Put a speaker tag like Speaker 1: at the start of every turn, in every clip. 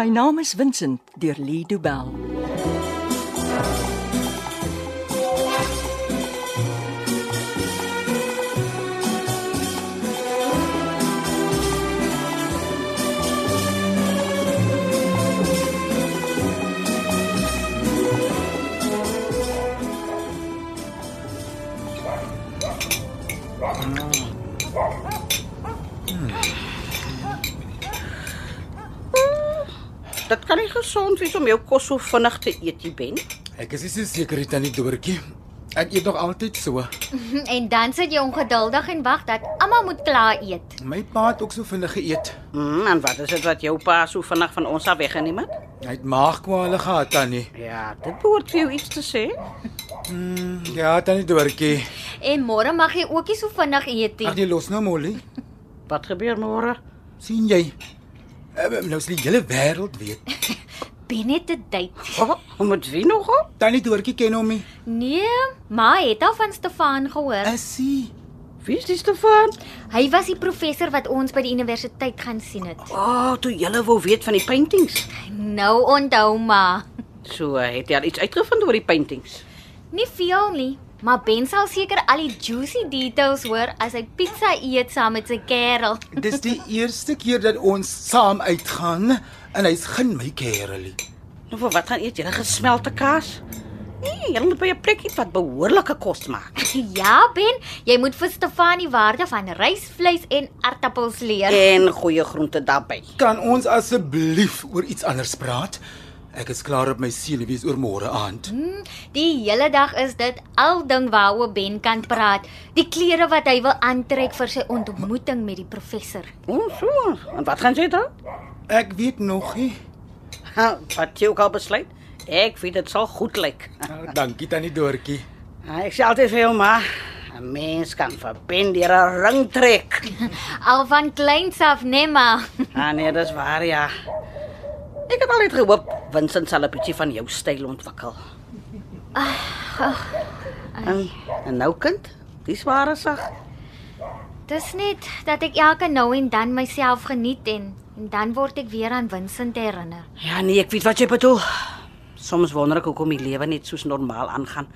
Speaker 1: My naam is Vincent deur Lee Du Bell.
Speaker 2: Dit kan nie gesond wees om jou kos so vinnig te eet, jy ben.
Speaker 3: Ek is nie so seker dit aan die dorpie. Ek eet nog altyd so.
Speaker 4: En dan sit jy ongeduldig en wag dat almal moet klaar eet.
Speaker 3: My pa het ook so vinnig geëet.
Speaker 2: Mm, en wat is dit wat jou pa so vinnig van ons af weggeneem het?
Speaker 3: Hy het maagkwale gehad tannie.
Speaker 2: Ja, dit behoort vir jou iets te sê.
Speaker 3: Mm, Ja, tannie dorpie.
Speaker 4: En môre mag jy ook nie so vinnig eet
Speaker 3: Ag
Speaker 4: nie.
Speaker 3: jy los nou Molly.
Speaker 2: Wat gebeur môre?
Speaker 3: sien jy? Eh, Nou is die hele wêreld weet.
Speaker 4: Ben het 'n date.
Speaker 2: Oh, met wie nog op?
Speaker 3: Tannie dorpie ken hom nie. Eh,
Speaker 4: Nee, ma het al van Stefan gehoor.
Speaker 3: Is hy?
Speaker 2: Wie is die Stefan?
Speaker 4: Hy was die professor wat ons by die universiteit gaan sien het.
Speaker 2: O, oh, toe julle wou weet van die paintings.
Speaker 4: Nou onthou ma.
Speaker 2: So het jy al iets uitgevind oor die paintings?
Speaker 4: Nie veel nie, maar Ben sal seker al die juicy details hoor as hy pizza eet saam met sy kerel.
Speaker 3: Dis die eerste keer dat ons saam uitgaan en hy's geen my kerel nie.
Speaker 2: Nou vir wat gaan eet julle gesmelte kaas? Nee, julle moet by 'n plek eet wat behoorlike kos maak.
Speaker 4: Ja, Ben, jy moet vir Stefan die waarde van rysvleis en aartappels leer.
Speaker 2: En goeie groente daarbey.
Speaker 3: Kan ons asseblief oor iets anders praat? Ek is klaar op my senuwees oor môre aand.
Speaker 4: Die hele dag is dit al ding waaroor Ben kan praat. Die klere wat hy wil aantrek vir sy ontmoeting met die professor.
Speaker 2: O, Oh, so. En wat gaan jy dan?
Speaker 3: Ek weet nog nie.
Speaker 2: Ha, wat jy ook al besluit? Ek weet dit sal goed lyk.
Speaker 3: Ah, Dankie tannie Doortjie.
Speaker 2: Ah, Ek sê altyd vir jou maar 'n mens kan vir Ben deur 'n ring trek.
Speaker 4: Al van kleins af, né, ma?
Speaker 2: Ah nee, dis waar ja. Ek het altyd gehoop Vincent sal 'n bietjie van jou styl ontwikkel. En, en nou kind, dis ware sag.
Speaker 4: Dis net dat ek elke nou en dan myself geniet en, en dan word ek weer aan Vincent herinner.
Speaker 2: Ja nee, ek weet wat jy bedoel. Soms wonder ek hoekom die lewe net soos normaal aangaan.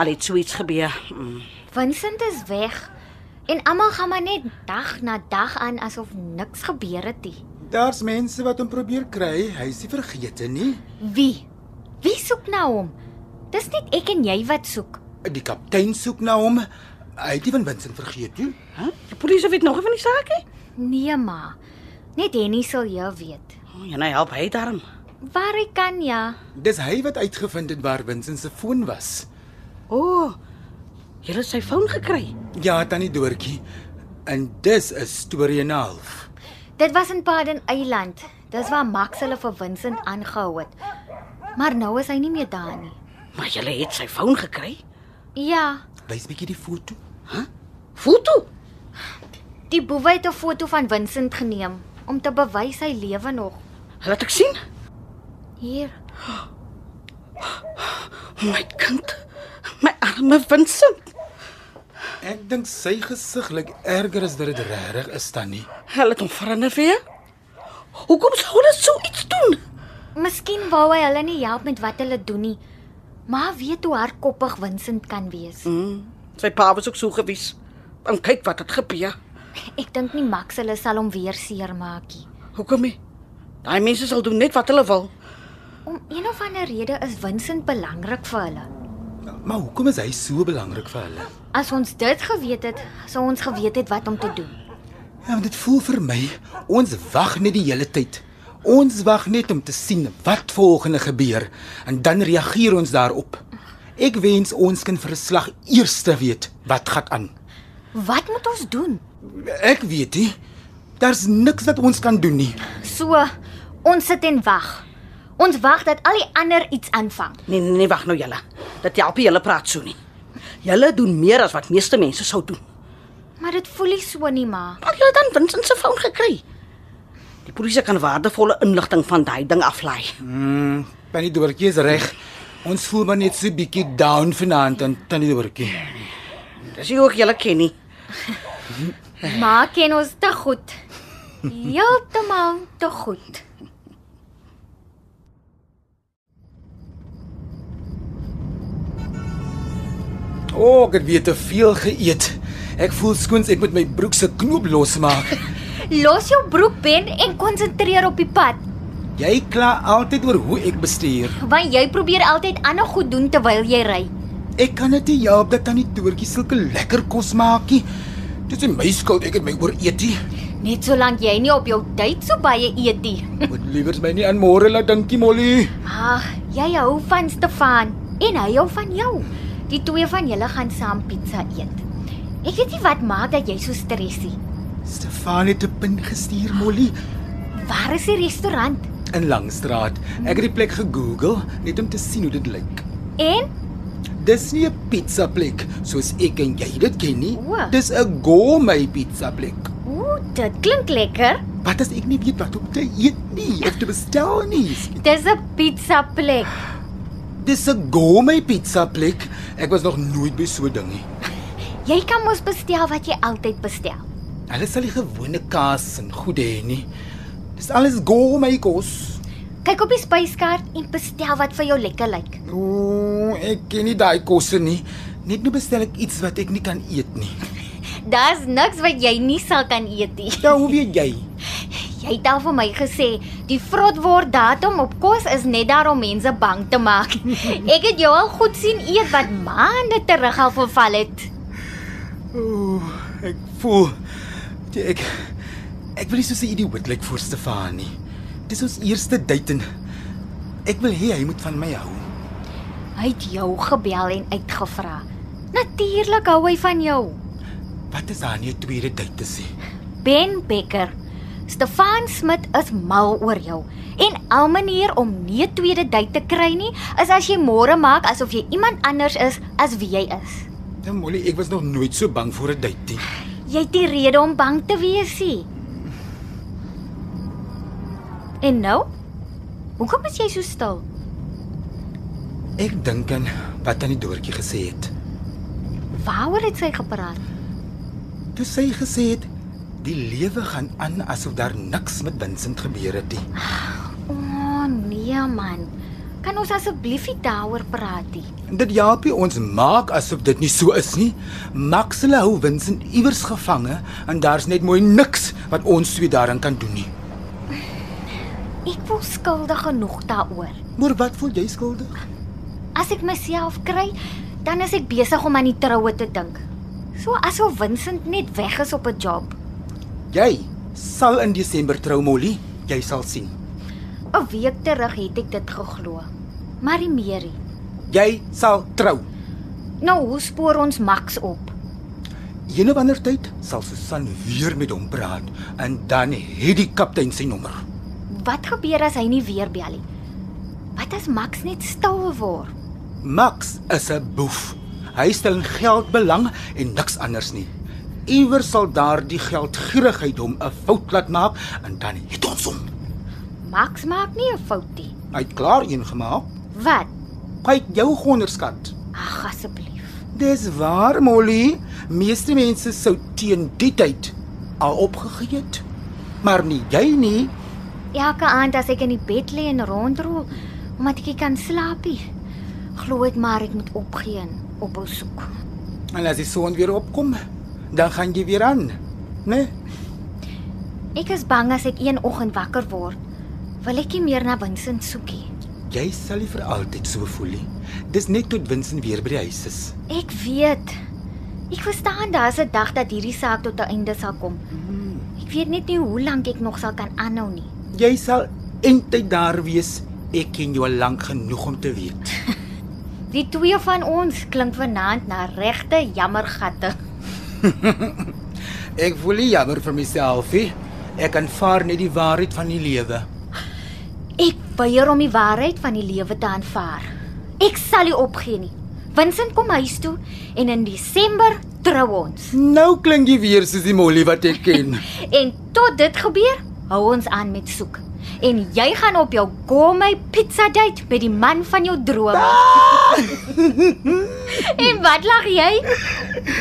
Speaker 2: Al het so iets gebeur. Mm.
Speaker 4: Vincent is weg en almal gaan maar net dag na dag aan asof niks gebeur het nie.
Speaker 3: Daar's mense wat hom probeer kry. Hy is nie vergete nie.
Speaker 4: Wie? Wie soek na hom? Dis net ek en jy wat soek.
Speaker 3: Die kaptein soek na hom. Hy het nie van Vincent vergeet nie.
Speaker 2: Huh? Die polisie weet nog nie van die saak nie.
Speaker 4: Nee ma. Net Henny sal jou weet.
Speaker 2: Oh, ja, nou help hy daarom.
Speaker 4: Waar hy kan ja.
Speaker 3: Dis hy wat uitgevind het waar Vincent se foon was.
Speaker 2: O. Oh, jy het sy foon gekry.
Speaker 3: Ja, tannie Doortjie. En dis 'n storie en 'n half.
Speaker 4: Dit was in Paden Eiland. Dis waar Max hulle vir Vincent aangehou het. Maar nou is hy nie meer daar nie.
Speaker 2: Maar jy het sy foon gekry.
Speaker 4: Ja,
Speaker 3: Wys bietjie die foto.
Speaker 2: Foto.
Speaker 4: die boewe het 'n foto van Vincent geneem om te bewys hy lewe nog.
Speaker 2: Laat ek sien.
Speaker 4: Hier.
Speaker 2: My kind. My arme Vincent.
Speaker 3: Ek dink sy gesig lyk erger as wat dit regtig is, tannie.
Speaker 2: Hulle het hom verander weer. Hoekom sou hulle so iets doen?
Speaker 4: Miskien wou hy hulle nie help met wat hulle doen nie. Maar weet hoe hardkoppig Vincent kan wees.
Speaker 2: Mm, sy pa was ook so gewees. En kyk wat het gebeur.
Speaker 4: Ek dink nie Max hulle sal hom weer seermaak nie.
Speaker 2: Hoekom nie? Daai mense sal doen net wat hulle wil.
Speaker 4: Om een of ander rede is Vincent belangrik vir hulle.
Speaker 3: Maar hoekom is hy so belangrik vir hulle?
Speaker 4: As ons dit geweet het, sou ons geweet het wat om te doen.
Speaker 3: Ja, want dit voel vir my ons wag net die hele tyd. Ons wag net om te sien wat volgende gebeur en dan reageer ons daarop. Ek wens ons kan vir 'n slag eers te weet wat gaan aan.
Speaker 4: Wat moet ons doen?
Speaker 3: Ek weet nie. Daar's niks wat ons kan doen nie.
Speaker 4: So, ons sit en wag. Ons wag dat al die ander iets aanvang.
Speaker 2: Nee nee, nee wag nou julle. Dit help nie julle praat so nie. Julle doen meer as wat meeste mense sou doen.
Speaker 4: Maar dit voel nie so nie, ma.
Speaker 2: Maar julle het dan Vincent se foon gekry. Die polisie kan waardevolle inligting van daai ding aflaai.
Speaker 3: Mm, tannie Dorotjie is reg. Ons voel maar net so bietjie down vanaand aan tannie Dorotjie.
Speaker 2: Dis nie ook julle ken nie.
Speaker 4: Ma ken ons te goed. Heeltemal te goed.
Speaker 3: O, ek het weer te veel geëet. Ek voel skoons ek moet my broek se knoop losmaak.
Speaker 4: Los jou broek Ben en konsentreer op die pad,
Speaker 3: Jy kla altyd oor hoe ek bestuur.
Speaker 4: want jy probeer altyd ander goed doen terwyl jy ry.
Speaker 3: Ek kan dit nie help dat tannie Toortjie sulke lekker kos maak nie. Dit is nie my skuld ek het my ooreet nie.
Speaker 4: Net solank jy nie op jou tyd so baie eet nie.
Speaker 3: Moet liewer my nie aan môre laat dinkie Molly.
Speaker 4: Ag, jy hou van Stefan en hy hou van jou. Die twee van julle gaan saam pizza eet. Ek weet nie wat maak dat jy so stressie.
Speaker 3: Stefan het 'n pin gestuur Molly
Speaker 4: Waar is die restaurant?
Speaker 3: in Langstraat. Ek het die plek gegoogel net om te sien hoe dit lyk.
Speaker 4: En
Speaker 3: Dis nie 'n pizza plek soos ek en jy dit ken nie.
Speaker 4: O.
Speaker 3: Dis 'n gourmet pizza plek.
Speaker 4: ooh, dit klink lekker.
Speaker 3: Wat as ek nie weet wat om te eet nie of te bestel nie?
Speaker 4: Dis 'n pizza plek.
Speaker 3: Dis 'n gourmet pizza plek. Ek was nog nooit by so 'n ding nie.
Speaker 4: Jy kan mos bestel wat jy altyd bestel.
Speaker 3: Hulle sal die gewone kaas en goed hê nie. Dis alles gourmet kos.
Speaker 4: Kyk op die spyskaart en bestel wat vir jou lekker lyk.
Speaker 3: Ooh, ek ken nie daai kosse nie. Net nou bestel ek iets wat ek nie kan eet nie.
Speaker 4: Daar's niks wat jy nie sal kan eet nie.
Speaker 3: Ja, hoe weet jy?
Speaker 4: Jy het al vir my gesê, die vrotword datum op kos is net daar om mense bang te maak. Ek het jou al goed sien eet wat maande terug al verval het.
Speaker 3: Ooh, ek voel jy, ek ek wil nie soos 'n idioot lyk voor Stefan nie. Dis ons eerste date en ek wil hê hy moet van my hou.
Speaker 4: Hy het jou gebel en uitgevra. Natuurlik hou hy van jou.
Speaker 3: Wat is daar nie 'n tweede date te sê?
Speaker 4: Ben Becker. Stefan Smit is mal oor jou. En al manier om nie 'n tweede date te kry nie, is as jy môre maak asof jy iemand anders is as wie jy is.
Speaker 3: Nou Molly, ek was nog nooit so bang vir 'n date nie.
Speaker 4: Jy het nie rede om bang te wees nie. En nou? Hoekom is jy so stil?
Speaker 3: Ek dink aan wat aan die doortjie gesê het.
Speaker 4: Waaroor het sy gepraat?
Speaker 3: Toe sy gesê het die lewe gaan aan asof daar niks met Vincent gebeur het nie.
Speaker 4: O oh, nee man. Kan ons asseblief nie daaroor praat nie?
Speaker 3: Dit Japie ons maak asof dit nie so is nie. Max hulle hou Vincent iewers gevange en daar's net mooi niks wat ons twee daaraan kan doen nie.
Speaker 4: Ek voel skuldig genoeg daaroor.
Speaker 3: Maar wat voel jy skuldig?
Speaker 4: As ek myself kry, dan is ek besig om aan die troue te dink. So asof Vincent net weg is op 'n job.
Speaker 3: Jy sal in Desember trou Molly, jy sal sien.
Speaker 4: 'n Week terug het ek dit geglo. Maar nie meer nie.
Speaker 3: Jy sal trou.
Speaker 4: Nou hoe spoor ons Max op?
Speaker 3: Een of ander tyd sal Susan weer met hom praat en dan het die kaptein sy nommer.
Speaker 4: Wat gebeur as hy nie weer bel nie? Wat as Max net stil word?
Speaker 3: Max is 'n boef. Hy stel in geld belang en niks anders nie. Iewers sal daardie geldgierigheid hom 'n fout laat maak en dan het ons hom.
Speaker 4: Max maak nie 'n fout nie.
Speaker 3: Hy het klaar een gemaak.
Speaker 4: Wat?
Speaker 3: Kyk jou onderskat.
Speaker 4: Ag asseblief.
Speaker 3: Dis waar Molly, meeste mense sou teen die tyd al opgegee het. Maar nie jy nie.
Speaker 4: Elke aand as ek in die bed lê en rondrol omdat ek nie kan slaap nie, glo ek maar ek moet opgee en ophou soek.
Speaker 3: En as die son weer opkom, dan gaan jy weer aan, né? Nee?
Speaker 4: Ek is bang as ek een oggend wakker word, wil ek nie meer na Vincent soek nie.
Speaker 3: Jy sal nie vir altyd so voel nie. Dis net tot Vincent weer by die huis is.
Speaker 4: Ek weet. Ek verstaan daar's 'n dag dat hierdie saak tot 'n einde sal kom. Ek weet net nie hoe lank ek nog sal kan aanhou nie.
Speaker 3: Jy sal eintlik daar wees. Ek ken jou al lank genoeg om te weet.
Speaker 4: Die twee van ons klink vanaand na regte jammergatte.
Speaker 3: Ek voel nie jammer vir myself nie. Ek aanvaar net die waarheid van die lewe.
Speaker 4: Ek weier om die waarheid van die lewe te aanvaar. Ek sal nie opgee nie. Vincent kom huis toe en in Desember trou ons.
Speaker 3: Nou klink jy weer soos die Molly wat ek ken.
Speaker 4: En tot dit gebeur, hou ons aan met soek. En jy gaan op jou gourmet pizza date met die man van jou drome. en wat lag jy?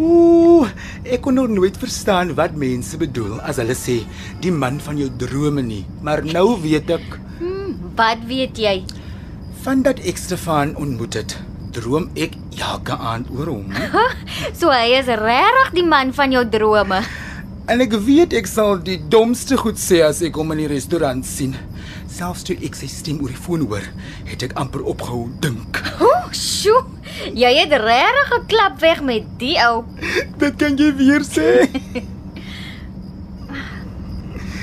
Speaker 3: Ooh, ek kon nog nooit verstaan wat mense bedoel as hulle sê die man van jou drome nie, maar nou weet ek
Speaker 4: Hmm, wat weet jy?
Speaker 3: van dat ek Stefan ontmoet het, droom ek elke aand oor hom.
Speaker 4: So hy is regtig die man van jou drome.
Speaker 3: En ek weet ek sal die domste goed sê as ek hom in die restaurant sien. Selfs toe ek sy stem oor die foon hoor, het ek amper opgehou dink.
Speaker 4: Ooh, sjoe. Jy het regtig geklap weg met die ou.
Speaker 3: Dit kan jy weer sê.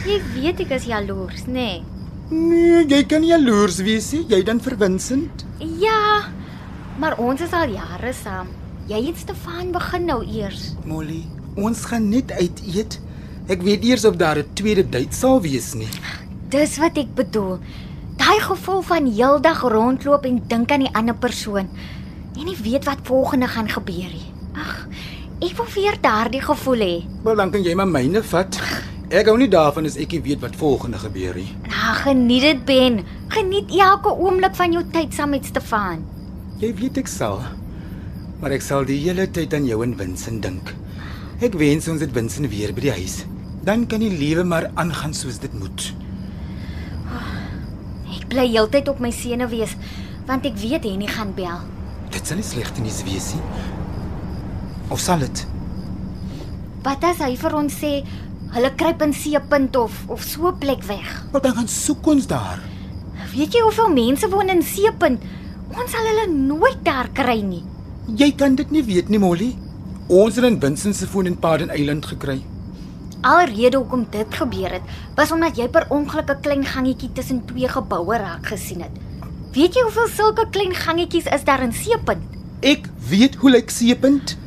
Speaker 4: Jy weet ek is jaloers, nê? Nee.
Speaker 3: Nee, jy kan nie jaloers wees nie. Jy dan verwinsend.
Speaker 4: Ja. Maar ons is al jare saam. Jy en Stefan begin nou eers.
Speaker 3: Molly, ons gaan net uit eet. Ek weet eers of daar 'n tweede date sal wees nie.
Speaker 4: Dis wat ek bedoel. Daai gevoel van heeldag rondloop en dink aan die ander persoon en nie weet wat volgende gaan gebeur nie. Ag, ek wil weer daardie gevoel hê.
Speaker 3: Maar dan kan jy maar myne vat. Ek hou nie daarvan as ek nie weet wat volgende gebeur nie.
Speaker 4: Nou, geniet dit, Ben. Geniet elke oomblik van jou tyd saam met Stefan.
Speaker 3: Jy weet ek sal. Maar ek sal die hele tyd aan jou en Vincent dink. Ek wens ons het Vincent weer by die huis. Dan kan die lewe maar aangaan soos dit moet.
Speaker 4: Ek bly heeltyd op my sene wees want ek weet Henny gaan bel.
Speaker 3: Dit sal nie slegte nuus wees nie. Of sal dit?
Speaker 4: Wat as hy vir ons sê hulle kruip in Seepunt of of so 'n plek weg?
Speaker 3: Wel dan gaan soek ons daar.
Speaker 4: Weet jy hoeveel mense woon in Seepunt? Ons sal hulle nooit daar kry nie.
Speaker 3: Jy kan dit nie weet nie, Molly. Ons het in Vincent se foon in Paden Eiland gekry.
Speaker 4: Alrede hoekom dit gebeur het, was omdat jy per ongeluk 'n klein gangetjie tussen twee geboue raak gesien het. Weet jy hoeveel sulke klein gangetjies is daar in Seepunt?
Speaker 3: Ek weet hoe lyk Seepunt.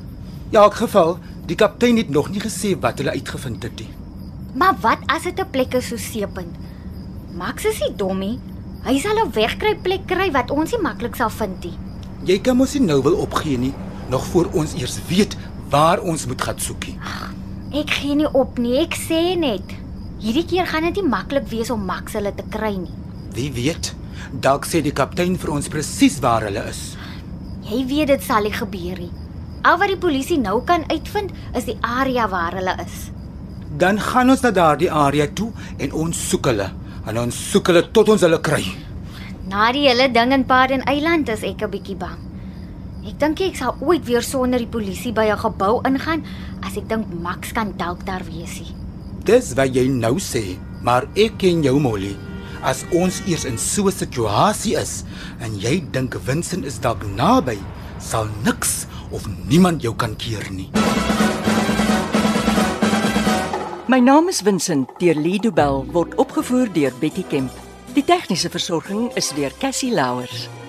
Speaker 3: Ja, in geval, die kaptein het nog nie gesê wat hulle uitgevind het nie.
Speaker 4: Maar wat as dit 'n plek is so seepend? Max is nie dom nie. Hy sal 'n wegkry plek kry wat ons nie maklik sal vind nie.
Speaker 3: Jy kan mos nie nou wil opgee nie, nog voor ons eers weet waar ons moet gaan soekie.
Speaker 4: Ek gee nie op nie, ek sê net. Hierdie keer gaan dit nie maklik wees om Max hulle te kry nie.
Speaker 3: Wie weet? Dalk sê die kaptein vir ons presies waar hulle is.
Speaker 4: Jy weet dit sal nie gebeur nie. Al wat die polisie nou kan uitvind is die area waar hulle is.
Speaker 3: Dan gaan ons na daardie area toe en ons soek hulle. En ons soek hulle tot ons hulle kry.
Speaker 4: Na die hele ding in Paden Eiland is ek 'n bietjie bang. Ek dink nie ek sal ooit weer sonder die polisie by 'n gebou ingaan as ek dink Max kan dalk daar wees nie.
Speaker 3: Dis wat jy nou sê, maar ek ken jou Molly. As ons eers in so 'n situasie is en jy dink Vincent is dalk naby, sal niks of niemand jou kan keer nie.
Speaker 1: My naam is Vincent deur Lido Bell word opgevoer deur Betty Kemp. Die tegniese versorging is deur Cassie Louers.